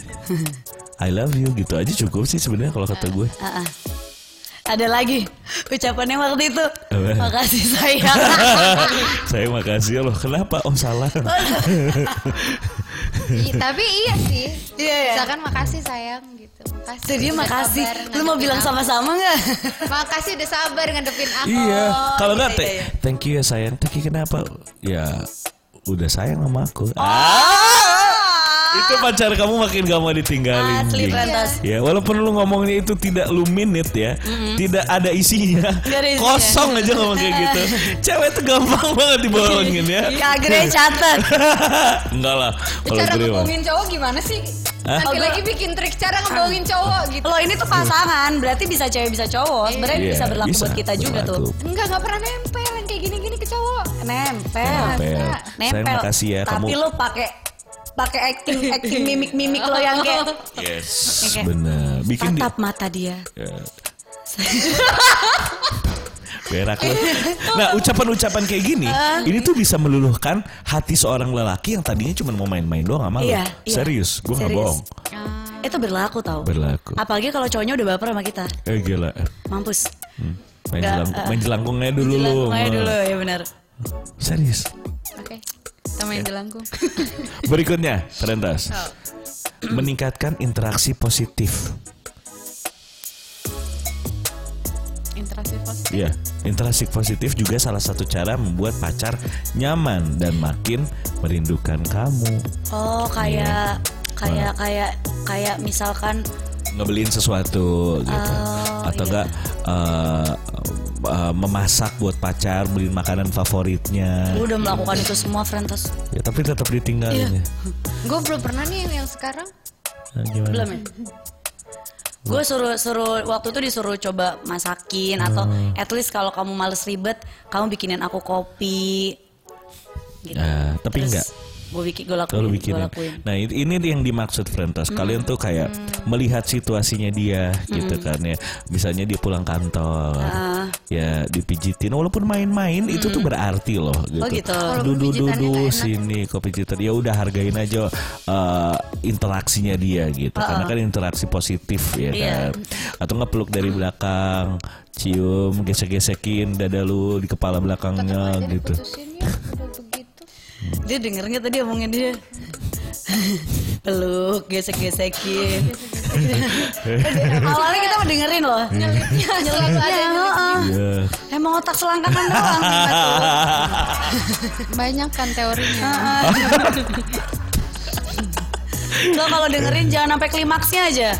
I love you gitu aja cukup sih sebenarnya kalau kata gue.
ah, ah. ada lagi ucapannya waktu itu.
Apa?
Makasih sayang.
Saya makasih ya loh. Kenapa? Oh salah.
i- tapi iya sih.
Iya ya.
Misalkan makasih sayang gitu. Makasih.
Jadi
udah
makasih.
sabar
Lu mau
ngadepin
bilang
aku.
sama-sama nggak?
Makasih udah sabar ngadepin aku.
iya. Kalau nggak,
iya,
te-
iya.
thank you ya
Oh.
sayang. Thank you kenapa? Ya udah sayang sama aku. Ah,
Ah,
itu pacar kamu makin gak mau ditinggalin.
Asli,
Jing.
Frantas.
Ya, walaupun lu ngomongnya itu tidak lu minute ya, tidak ada isinya.
Nggak ada isinya.
Kosong aja ngomong kayak gitu. Cewek tuh gampang banget dibohongin ya.
Kak Gre catet.
Enggak lah, kalau
cara
gue mah.
ngebohongin cowok gimana sih?
Hah?
Laki-laki bikin trik cara ngebohongin cowok gitu.
Lo ini tuh pasangan, berarti bisa cewek bisa cowok. Sebenarnya
Iya,
Kan bisa berlaku
bisa
buat kita juga
berlaku.
tuh.
Enggak, nggak pernah nempel yang kayak gini-gini ke cowok.
Nempel.
Nempel.
Nempel.
Sayang, makasih ya
Tapi
kamu.
lo pakai pakai acting acting mimik mimik lo yang kayak
Yes,
Oke.
benar. Bikin di,
tatap mata dia.
Ya. Berak lu. Nah ucapan-ucapan kayak gini
Ah.
Ini tuh bisa meluluhkan hati seorang lelaki Yang tadinya cuma mau main-main doang sama lu
Iya, iya.
Serius, gue gak
Serius.
bohong
Itu berlaku tau.
Berlaku
Apalagi kalau cowoknya udah baper sama kita.
Eh gila
Mampus.
Hmm. Main,
Nggak,
jelang,
eh.
main jelangkungnya dulu lu
Ayo
Eh.
dulu ya benar.
Serius
Oke. Kita main jelangkung.
Berikutnya, Rentas
Oh.
Meningkatkan interaksi positif
Interaksi positif.
Iya, interaksi positif juga salah satu cara membuat pacar nyaman dan makin merindukan kamu.
Oh kayak
Iya.
kayak kayak kayak misalkan
ngebeliin sesuatu gitu
Oh,
atau
iya.
enggak eh, eh, memasak buat pacar beliin makanan favoritnya
lu udah melakukan itu semua Frentos
ya tapi tetap
Iya.
ditinggalin ya
Gue belum pernah nih yang sekarang.
Nah, gimana
belum ya? Gue suruh suruh waktu itu disuruh coba masakin atau
Hmm.
at least kalau kamu males ribet kamu bikinin aku kopi gitu.
Nah, tapi enggak.
Gue bikin gue lakuin.
kalau
gua
bikin
Iya, lakuin.
nah it- ini yang dimaksud Frentos kalian tuh kayak melihat situasinya dia gitu kan ya misalnya dia pulang kantor ya dipijitin walaupun main-main itu tuh berarti loh gitu,
gitu.
Walaupun
dudu
pijitannya
dudu
nggak enak.
sini kopi jitan ya udah hargain aja eh, interaksinya dia gitu karena kan interaksi positif ya
Iya.
kan atau ngepeluk dari belakang cium gesek-gesekin dada lu di kepala belakangnya gitu
Putusin ya, udah begitu.
Dia dengernya tadi omongin dia. Peluk, gesek-gesekin. Awalnya kita mau dengerin loh.
Ya, selalu ada yang
Ya, ah.
Iya.
Emang otak selangkangan doang. kita tuh.
banyak kan teorinya.
Lo kalau dengerin jangan sampai klimaksnya aja.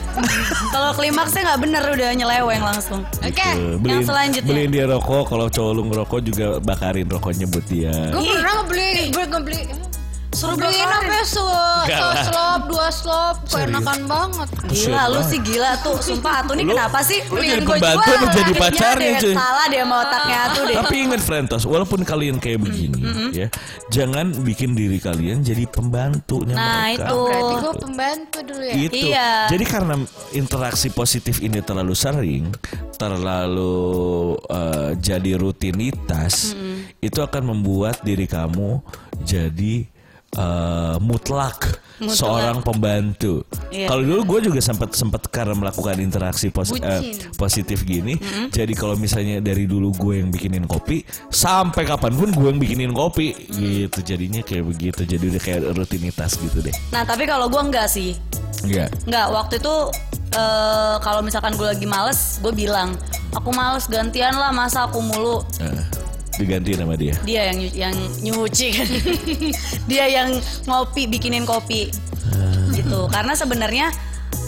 Kalau klimaksnya nggak bener udah nyeleweng langsung.
Oke.
Tuh, beliin,
selanjutnya.
beliin dia rokok kalau cowok lu ngerokok juga bakarin rokoknya buat dia
Gue pernah ngebeli, gue ngebeli.
Suruh
Beliin
bakarin.
apa so, so
Enggak lah.
slop, dua slop, enakan banget.
Gila lu
Buset banget.
sih gila tuh Sumpah Atu nih
Lu-
kenapa sih
lu
Mendingan
jadi
gua
pembantu
jual.
apa jadi
Kayaknya
pacarnya,
ada yang
cuy?
Salah dia sama otaknya Atu deh Mm,
tapi ingat Frentos walaupun kalian kayak begini ya jangan bikin diri kalian jadi pembantunya
Nah, itu.
mereka
Berarti gue pembantu dulu ya.
Itu.
Iya.
Gitu. Jadi karena interaksi positif ini terlalu sering, terlalu eh, jadi rutinitas, itu akan membuat diri kamu jadi eh, mutlak, seorang pembantu.
Iya.
Kalau dulu gue juga sempat sempat karena melakukan interaksi posi- eh,
Bucin.
positif gini, jadi kalau misalnya dari dulu gue yang bikinin kopi, sampai kapanpun gue yang bikinin kopi, gitu jadinya kayak begitu, jadi udah kayak rutinitas gitu deh.
Nah tapi kalau gua enggak sih
Enggak.
Enggak waktu itu eh, Kalau misalkan gue lagi males Gue bilang Aku males gantian lah Masa aku mulu
Nah, diganti nama dia.
Dia yang nyu- yang nyuci kan. Dia yang ngopi bikinin kopi.
Hmm.
gitu. Karena sebenarnya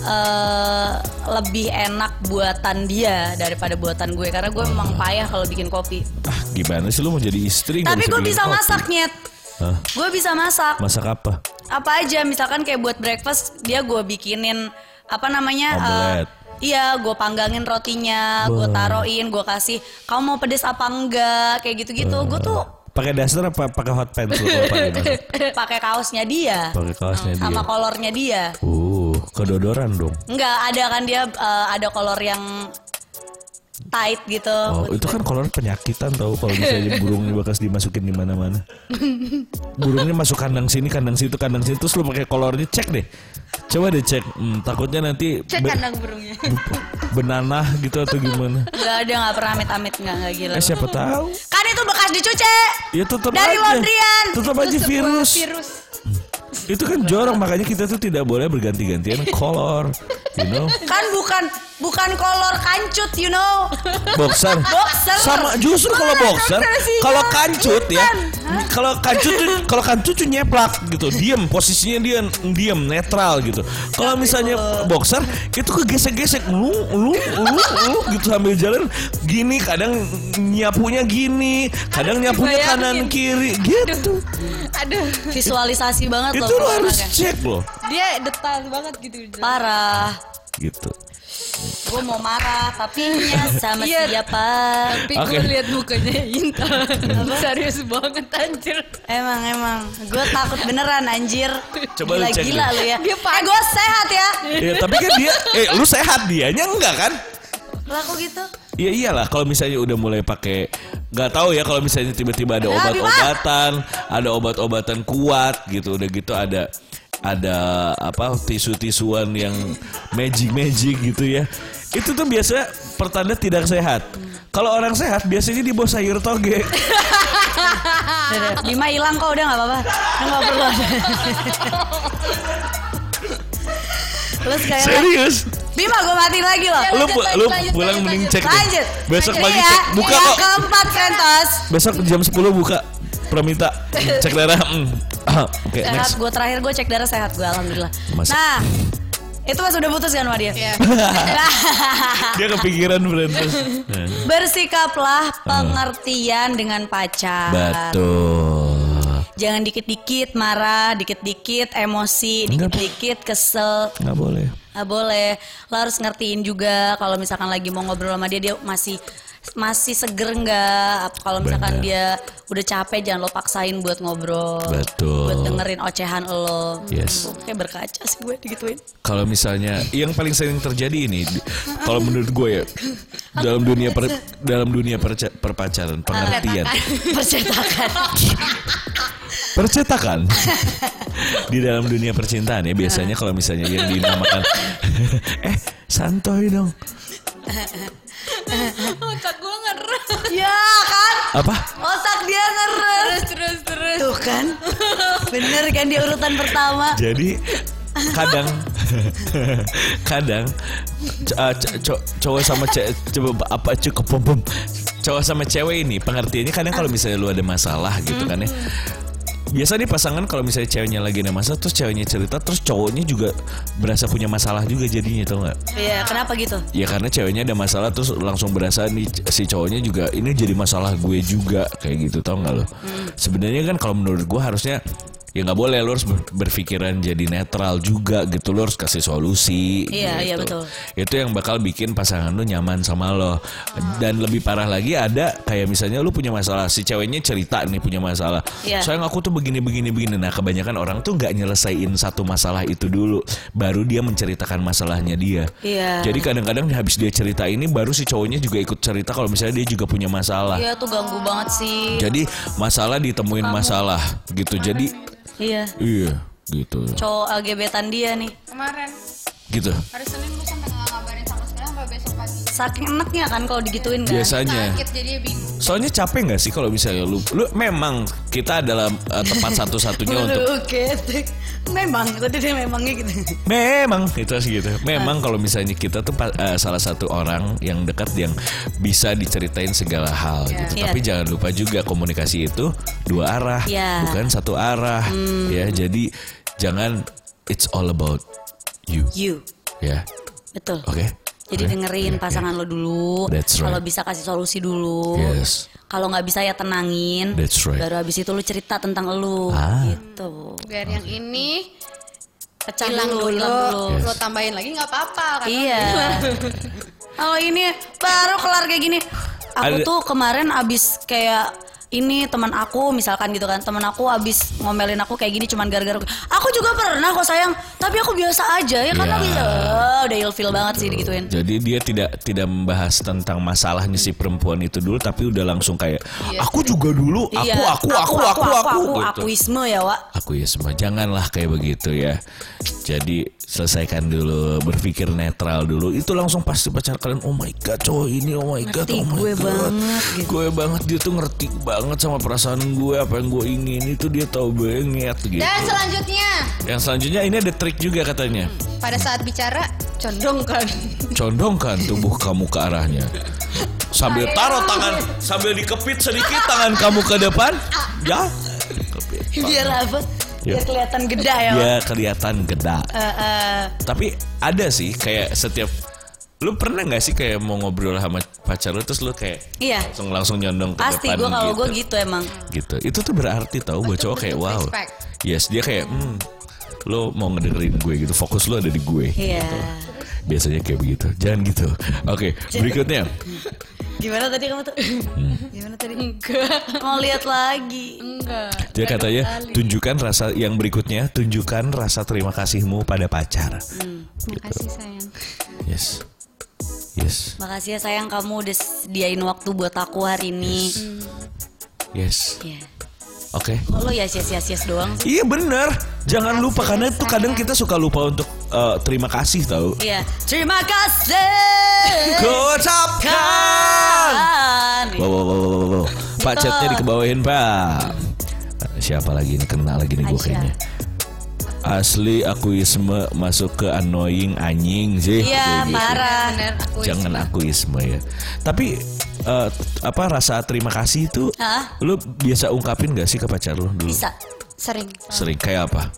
eh, lebih enak buatan dia daripada buatan gue karena gue memang payah kalau bikin kopi.
Ah, Hmm. gimana sih lu mau jadi istri? nggak
Tapi gue
bikin
bisa
kopi?
masak nyet.
Hah?
Gue bisa masak.
Masak apa?
Apa aja misalkan kayak buat breakfast dia gue bikinin apa namanya? eh,
Omelet.
Iya, gue panggangin rotinya, gue taruin, gue kasih. Kamu mau pedes apa enggak? Kayak gitu-gitu. Gue tuh
Ah. Pakai daster apa pakai hot pants lu kalau pakai masak?
pakai kaosnya dia.
Pakai kaosnya dia.
sama kolornya dia
Uh, kedodoran dong.
enggak ada kan dia eh, ada kolor yang tight gitu
Oh, itu kan kolor penyakitan tau kalau misalnya burungnya bekas dimasukin di mana-mana. Burungnya masuk kandang sini, kandang situ, kandang situ, terus lu pakai kolornya cek deh. Coba deh cek. Hmm, takutnya nanti
Kan
Cek
be-
kandang burungnya.
benanah gitu atau gimana.
enggak ada enggak pernah amit-amit enggak enggak gila
Eh siapa tahu?
kan itu bekas dicuci
Ya tetap
dari
aja.
laundryan
Tetap aja
Itu sebuah
virus.
Virus.
Itu kan jorok makanya kita tuh tidak boleh berganti-gantian kolor, you know.
kan bukan bukan kolor kancut you know
Boxer.
Boxer.
Sama justru kalau boxer,
boxer sih,
kalau
ya.
kancut ya, Kalau kancut tuh kalau kancut tuh nyeplak gitu, diem posisinya dia diem netral gitu. Kalau misalnya boxer itu kegesek-gesek lu lu lu lu gitu sambil jalan gini kadang nyapunya gini, kadang nyapunya
dibayangin.
kanan kiri gitu.
Aduh.
Visualisasi banget loh.
Itu lo harus
orangnya.
cek loh
Dia detail banget gitu.
Parah.
gitu.
Gue mau marah tapi ya sama
Iya.
siapa?
Tapi
Oke. Hmm.
gue liat mukanya Intan Serius banget anjir
Emang emang. Gue takut beneran anjir.
Coba lu
gila,
cek
gila
deh.
lu ya.
Dia
eh
pan-
gue sehat ya.
Ya tapi kan dia eh lu sehat dianya enggak kan?
Lah kok gitu?
Ya iyalah kalau misalnya udah mulai pakai nggak tahu ya kalau misalnya tiba-tiba ada
Ada apa,
obat-obatan, ada obat-obatan kuat gitu udah gitu ada ada apa tisu-tisuan yang magic-magic gitu ya. Itu tuh biasanya pertanda tidak sehat. Kalau orang sehat biasanya di bawah sayur toge.
Udah, udah. Bima hilang kok udah nggak apa-apa. Udah nggak perlu. Lu sekali lagi.
Serius?
Bima gue matiin lagi loh.
Lu
lanjut,
pu-
lanjut,
lu
lanjut,
pulang
lanjut,
mending
lanjut.
Iya,
Iya,
cek deh.
Lanjut.
Besok
Lanjut
pagi
ya.
cek buka
Yang
kok.
keempat kentos.
Besok jam 10 buka. Perminta cek darah. Mm. Oke,
Sehat
next.
gue terakhir gue cek darah sehat gue alhamdulillah.
Masa-
Nah itu mas udah putus kan sama dia.
Iya.
Nah,
Dia kepikiran berantem. Nah.
Bersikaplah
Hmm.
pengertian dengan pacar.
Betul.
Jangan dikit-dikit marah, dikit-dikit emosi,
Enggak, Bu.
dikit-dikit kesel.
Nggak boleh.
Nggak Ah, boleh. Lo harus ngertiin juga kalau misalkan lagi mau ngobrol sama dia dia masih masih seger nggak? Apa Kalau misalkan
Benar.
dia udah capek jangan lo paksain buat ngobrol.
Betul.
Buat dengerin ocehan lo.
Yes.
Oke berkaca sih gue digituin.
Kalau misalnya yang paling sering terjadi ini, di- kalau menurut gue ya dalam dunia per, dalam dunia perca- perpacaran pengertian
Percetakan.
percetakan di dalam dunia percintaan ya biasanya kalau misalnya yang dinamakan eh santoy dong
Otak gue ngeres
ya kan?
apa
Otak dia ngeres.
Terus terus terus
Tuh kan? Bener kan dia urutan pertama.
Jadi kadang kadang c- uh, c- co- cowok sama cewek coba apa cukup pum pum. cowok sama cewek ini pengertiannya kadang kalau misalnya lu ada masalah gitu kan ya biasa nih pasangan kalau misalnya ceweknya lagi ada masalah terus ceweknya cerita terus cowoknya juga berasa punya masalah juga jadinya tau nggak
Iya, kenapa gitu?
ya karena ceweknya ada masalah terus langsung berasa nih c- si cowoknya juga ini jadi masalah gue juga kayak gitu tau nggak lo
Hmm.
sebenarnya kan kalau menurut gue harusnya ya nggak boleh lo harus ber- berpikiran jadi netral juga gitu lo harus kasih solusi
Iya, iya, betul.
gitu. itu yang bakal bikin pasangan lo nyaman sama lo dan lebih parah lagi ada kayak misalnya lo punya masalah si ceweknya cerita nih punya masalah
Iya.
sayang aku tuh begini begini begini nah kebanyakan orang tuh nggak nyelesain satu masalah itu dulu baru dia menceritakan masalahnya dia
Iya.
jadi kadang-kadang habis dia cerita ini baru si cowoknya juga ikut cerita kalau misalnya dia juga punya masalah.
Iya tuh ganggu banget sih.
Ah. Jadi masalah ditemuin masalah gitu. Jadi
Iya.
iya gitu.
Cowok LGBtan dia nih.
Kemarin
Gitu.
hari Senin gue sampe gak ngabarin sama sekali sampai besok pagi
Saking enaknya kan kalau digituin kan.
Biasanya.
Sakit jadi dia bingung
Soalnya capek nggak sih kalau misalnya lu lu memang kita adalah eh, tempat satu-satunya untuk
Oke, memang tadi dia memangnya gitu.
Memang itu sih gitu. Memang kalau misalnya kita tuh pa- eh, salah satu orang yang dekat yang bisa diceritain segala hal
Iya.
gitu. Tapi jangan lupa juga komunikasi itu dua arah,
Iya. Hmm.
bukan satu arah. Ya, jadi jangan it's all about you.
You,
Ya.
betul.
Oke.
Iya. Jadi
Oke? Iya.
dengerin
Oke.
pasangan lo dulu.
That's right.
Kalau bisa kasih solusi dulu.
Yes.
Kalau nggak bisa ya tenangin.
That's right.
Baru habis itu lu cerita tentang lu
Ah.
gitu.
Biar yang ini
Pecah
hilang dulu,
hilang dulu.
Yes.
Lo tambahin lagi gak apa-apa kan?
Iya. Kalau Oh, ini baru kelar kayak gini. Aku
Ada-
tuh kemarin abis kayak ini teman aku misalkan gitu kan teman aku abis ngomelin aku kayak gini cuman gara-gara aku juga pernah kok sayang tapi aku biasa aja ya karena
Ya.
bisa udah ilfil banget sih digituin
Jadi dia tidak tidak membahas tentang masalahnya si perempuan itu dulu tapi udah langsung kayak aku juga dulu, aku
Iya.
aku aku aku aku,
aku,
gitu.
akuisme ya Wak
aku ya semua janganlah kayak begitu ya jadi selesaikan dulu berpikir netral dulu itu langsung pasti pacar kalian oh my god cowok ini oh my god
Ngerti
oh my
gue
god
banget, gitu.
gue banget dia tuh ngerti banget sama perasaan gue apa yang gue ingin itu dia tahu banget gitu
Dan selanjutnya
yang selanjutnya ini ada trik juga katanya
Pada saat bicara Condong kan
condongkan tubuh kamu ke
Ah.
arahnya sambil taruh tangan sambil dikepit sedikit tangan kamu ke depan ya
Biar apa? Biar
Ya.
kelihatan geda ya.
ya kelihatan geda
Eh, eh,
tapi ada sih kayak setiap lu pernah nggak sih kayak mau ngobrol sama pacar lu terus lu kayak
iya.
langsung langsung nyondong ke
Pasti
depan
gue kalau
gitu.
gue gitu emang.
gitu itu tuh berarti tau buat
Itu
cowok kayak
bentuk
wow
respect.
yes dia kayak hmm lo mau ngedengerin gue gitu fokus lo ada di gue
Iya.
biasanya kayak begitu jangan gitu oke berikutnya
Gimana tadi kamu tuh?
Gimana tadi? Enggak.
Mau lihat lagi.
Enggak.
dia katanya tunjukkan rasa yang berikutnya tunjukkan rasa terima kasihmu pada pacar
Hmm.
Makasih sayang.
yes yes
Makasih ya sayang kamu udah sediain waktu buat aku hari ini.
yes
Iya.
oke
Kok lo yes yes yes yes doang sih?
Iya bener, jangan lupa karena itu kadang kita suka lupa untuk eh, terima kasih tau.
Iya. Terima kasih.
Kan. Kocapkan.
Kan.
Wow, wow, wow, wow, wow. Pak
Gitu.
chatnya dikebawain pak. Siapa lagi nih kena lagi nih gue
Aisyah.
kayaknya. Asli akuisme masuk ke annoying anjing sih.
Iya,
Kayak gitu.
parah.
Bener, aku
Jangan akuisme ya. Tapi eh, t- apa rasa terima kasih itu?
Hah?
Lu biasa ungkapin gak sih ke pacar lu dulu?
Bisa.
sering.
Sering kayak apa?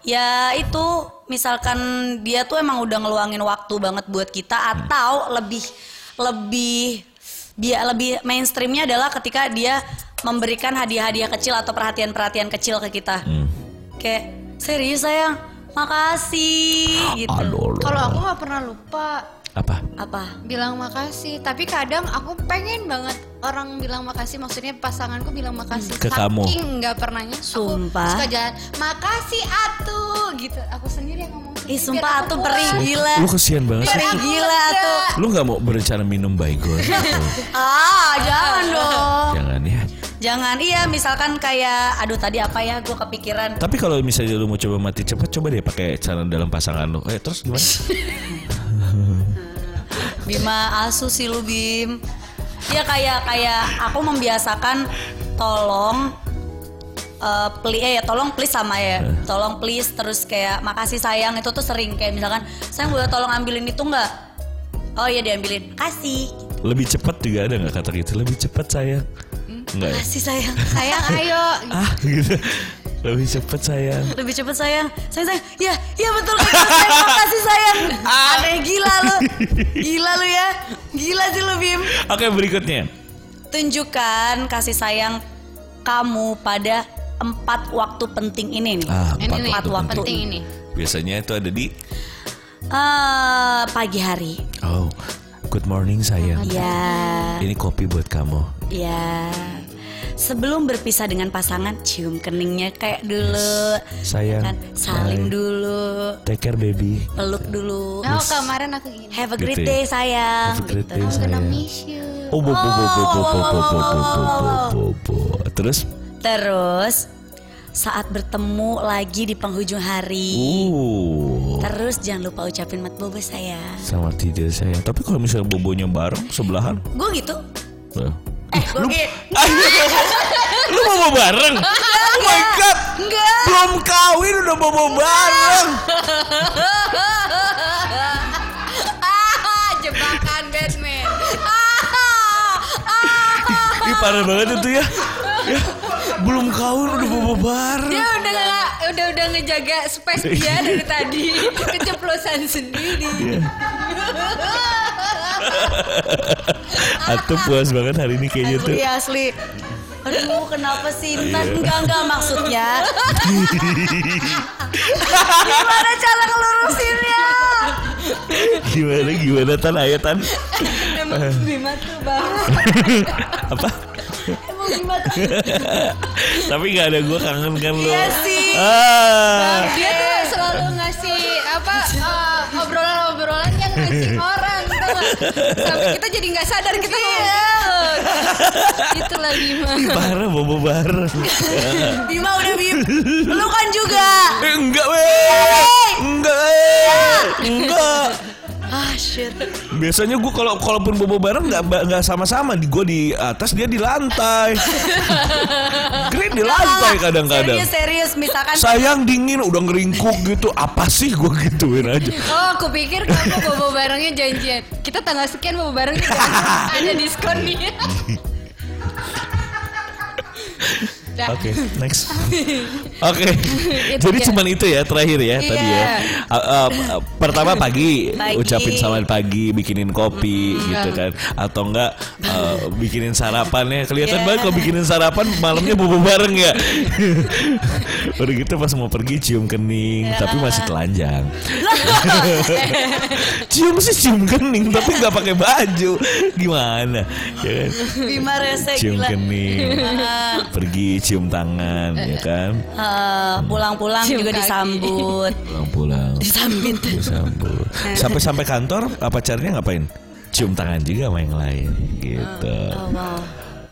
Ya itu misalkan dia tuh emang udah ngeluangin waktu banget buat
Hmm.
kita atau lebih lebih dia lebih mainstreamnya adalah ketika dia memberikan hadiah-hadiah kecil atau perhatian-perhatian kecil ke kita.
Hmm.
Kayak serius sayang, makasih gitu.
Aduh, lo.
Kalau aku nggak pernah lupa
apa?
Apa?
bilang makasih tapi kadang aku pengen banget orang bilang makasih maksudnya pasanganku bilang makasih
Ke kamu.
saking nggak pernahnya aku
Sumpah.
suka jalan makasih atu gitu aku sendiri yang ngomong sendiri
Ih
biar
sumpah
aku
tuh
puas.
perih gila.
Lu kesian banget sih.
Perih gila
lega.
tuh.
Lu nggak mau berencana minum baygon? gitu?
Ah, jangan dong.
Jangan ya.
Jangan. Iya, misalkan kayak aduh tadi apa ya gue kepikiran.
Tapi kalau misalnya lu mau coba mati cepat, coba deh pakai cara dalam pasangan lu. Eh terus gimana?
Bima asu sih lu Bim Ya kayak kayak aku membiasakan tolong eh please eh tolong please sama ya tolong please terus kayak makasih sayang itu tuh sering kayak misalkan sayang boleh tolong ambilin itu nggak oh iya diambilin kasih
Lebih cepat juga ada nggak kata gitu? Lebih cepat sayang. Enggak ya?
kasih sayang
sayang ayo
Ah gitu. Lebih cepat sayang.
lebih cepet sayang sayang sayang ya ya betul betul sayang makasih sayang
Ah.
aneh gila lu gila lu ya gila sih lu Bim
Oke berikutnya.
tunjukkan kasih sayang kamu pada empat waktu penting ini nih.
Ah,
ini nih
Empat waktu.
penting ini
Biasanya itu ada di
Eh, pagi hari.
Oh, good morning sayang.
Ya,
Ini kopi buat kamu.
ya. Sebelum berpisah dengan pasangan, cium keningnya kayak dulu.
Sayang.
Kan, saling
bye.
dulu,
Take care baby.
peluk dulu.
oh kemarin aku gini
Have a great
Gitu ya.
day sayang.
Have a great
Gitu.
day,
I'm gonna
sayang.
miss you
Oh, bo, bo, bo, bo, bo, bo, bo, bo, bo, bo, bo, bo. Terus
Terus saat bertemu lagi di penghujung hari.
Uh.
Terus jangan lupa ucapin mat bobo sayang.
Sama tidur saya. Tapi kalau misalnya bobonya bareng sebelahan.
Gue gitu.
Eh.
Eh, gue gitu.
Lu bobo bareng? Oh my god.
Enggak.
Belum kawin udah bobo bareng.
ah jebakan Batman Ah.
Ih parah banget itu ya. Ya, belum kawin udah bobo bareng.
dia Eh, udah nggak udah udah ngejaga space dia dari tadi keceplosan sendiri
Atau puas banget hari ini kayaknya tuh.
Asli Iya, asli. Aduh, kenapa sih
Iya.
Intan? Enggak, enggak maksudnya. Gimana cara ngelurusinnya?
Gimana gimana tan ayat tan?
Emang Bima tuh banget.
Apa?
Emang Bima tuh.
Tapi nggak ada gue kangen kan lo.
Iya sih.
Ah.
dia tuh selalu ngasih apa eh, obrolan-obrolan yang ngasih orang tau nggak? sampai kita jadi nggak sadar kita ngomong gitu lagi mah
Parah bobo Eh, bareng.
Bima udah Bim. Lu kan juga.
Eh, enggak weh. Enggak.
Ya.
weh. Enggak.
Ah, shit.
Biasanya gue kalau kalaupun bobo bareng nggak ba- nggak sama-sama di gue di atas dia di lantai. Green di lantai kadang-kadang.
Serius, serius. Misalkan
Sayang dingin udah ngeringkuk gitu. Apa sih gue gituin aja.
oh aku pikir kamu bobo barengnya janjian kita tanggal sekian bobo barengnya ada diskon nih Dah.
Oke, next. Oke.
Itu
Jadi
dia.
cuman itu ya terakhir ya tadi ya.
Iya.
Uh, uh, uh, pertama pagi,
Pagi.
ucapin selamat pagi, bikinin kopi
Iya.
gitu kan atau enggak uh, bikinin sarapannya. Kelihatan
Iya.
banget kalau bikinin sarapan malamnya bobo bareng ya. Udah gitu pas mau pergi cium kening
Iya.
tapi masih telanjang. cium sih cium kening tapi nggak pakai baju. Gimana? Ya kan?
Bima rese
Cium
gila.
Iya.
kening.
Heeh.
Pergi cium tangan ya kan.
Eh, pulang-pulang
Cium
juga
kaki.
disambut
pulang-pulang
disambut
disambut sampai sampai kantor apa caranya ngapain cium tangan juga sama yang lain gitu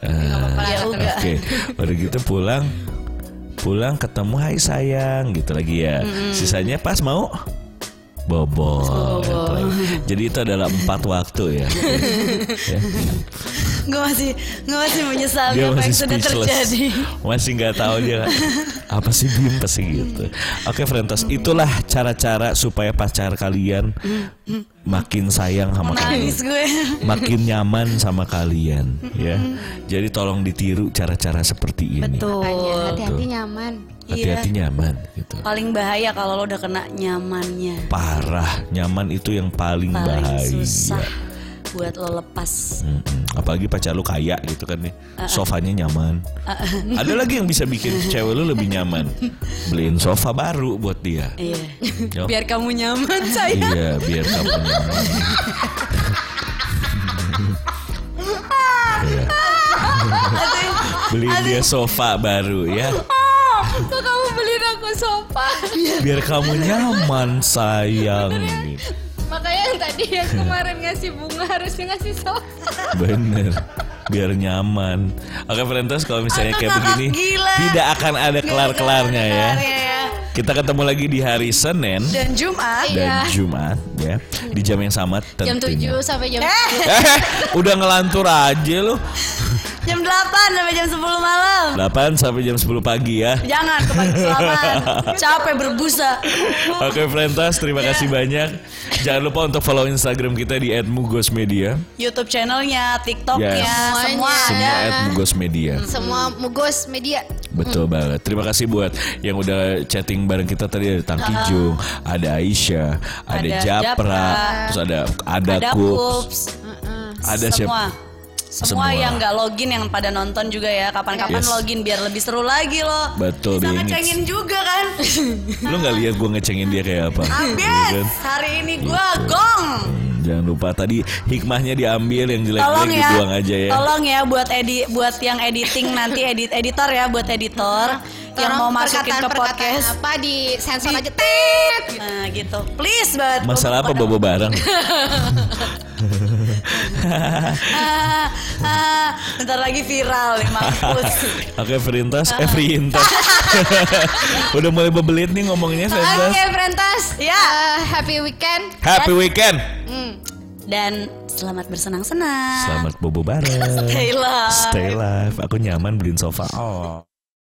Ah,
Ya udah.
oke baru gitu pulang pulang ketemu hai sayang gitu lagi ya sisanya pas mau bobol gitu jadi itu adalah empat waktu ya Ya.
gue masih gue masih menyesal
dia
apa
masih
yang sudah
speechless
terjadi
masih nggak tahu dia apa sih Bim pasti gitu oke Frentos itulah cara-cara supaya pacar kalian makin sayang sama kalian
nangis gue
makin nyaman sama kalian ya jadi tolong ditiru cara-cara seperti
Makanya
ini
tuh
Hati-hati nyaman.
hati-hati
Iya.
nyaman gitu
paling bahaya kalau lo udah kena nyamannya
parah nyaman itu yang
paling
paling, bahaya
susah buat lo lepas
Mm-mm. Apalagi pacar lu kaya gitu kan nih Sofanya nyaman Ada lagi yang bisa bikin cewek lu lebih nyaman Beliin sofa baru buat dia
iya
Yo.
biar kamu nyaman saya
Iya biar kamu nyaman Iya. Beliin dia sofa baru ya
Oh, kok kamu beliin aku sofa?
Biar kamu nyaman sayang Gitu.
Makanya yang tadi yang kemarin ngasih bunga harusnya ngasih sofa.
Bener biar nyaman. Oke Frentos kalau misalnya
Anak-anak
kayak begini
gila.
tidak akan ada kelar-kelarnya ya.
Iya, ya.
Kita ketemu lagi di hari Senin
dan Jumat
dan Jumat ya di jam yang sama
Jam 7
tentunya.
sampai jam
eh
Eh, udah ngelantur aja lu.
jam 8 sampai jam 10 malam
8 sampai jam 10 pagi ya.
jangan kebalik kelamaan capek berbusa
Oke Frentas, terima
Iya.
kasih banyak. Jangan lupa untuk follow Instagram kita di @mugosmedia.
YouTube channelnya TikToknya
Yes.
semua
Semua
ada
@mugosmedia.
Mm.
semua mugos media.
Betul banget. Terima kasih buat yang udah chatting bareng kita tadi ada Tang Kijung, ada Aisyah, ada,
Ada
Japra,
Japra.
terus ada ada,
ada
Kups,
Kups
ada
semua
siapa?
semua
Semua.
yang nggak login yang pada nonton juga ya kapan-kapan
Yes.
login biar lebih seru lagi loh
Betul,
bisa
dia ingat.
ngecengin juga kan
Lu nggak lihat gue ngecengin dia kayak apa? Iya
abis
kan?
hari ini gua gong
Hmm, Jangan lupa tadi hikmahnya diambil yang jelek-jelek
tolong ya
dibuang aja ya.
tolong ya buat edi buat yang editing nanti edit editor ya buat editor yang mau masukin ke
perkataan-perkataan
podcast
apa di sensor aja
tit nah gitu please banget
Masalah apa bobo bareng?
Ah, ah, bentar lagi viral nih mampus
Oke, Ferintas, eh Ferintas. Udah mulai bebelit nih ngomongnya
Oke,
Ferintas.
Frentas.
Ya.
Eh, happy weekend.
Happy weekend.
Hmm.
dan selamat bersenang-senang
Selamat bobo bareng.
Stay love.
Stay live. Aku nyaman beliin sofa. Oh.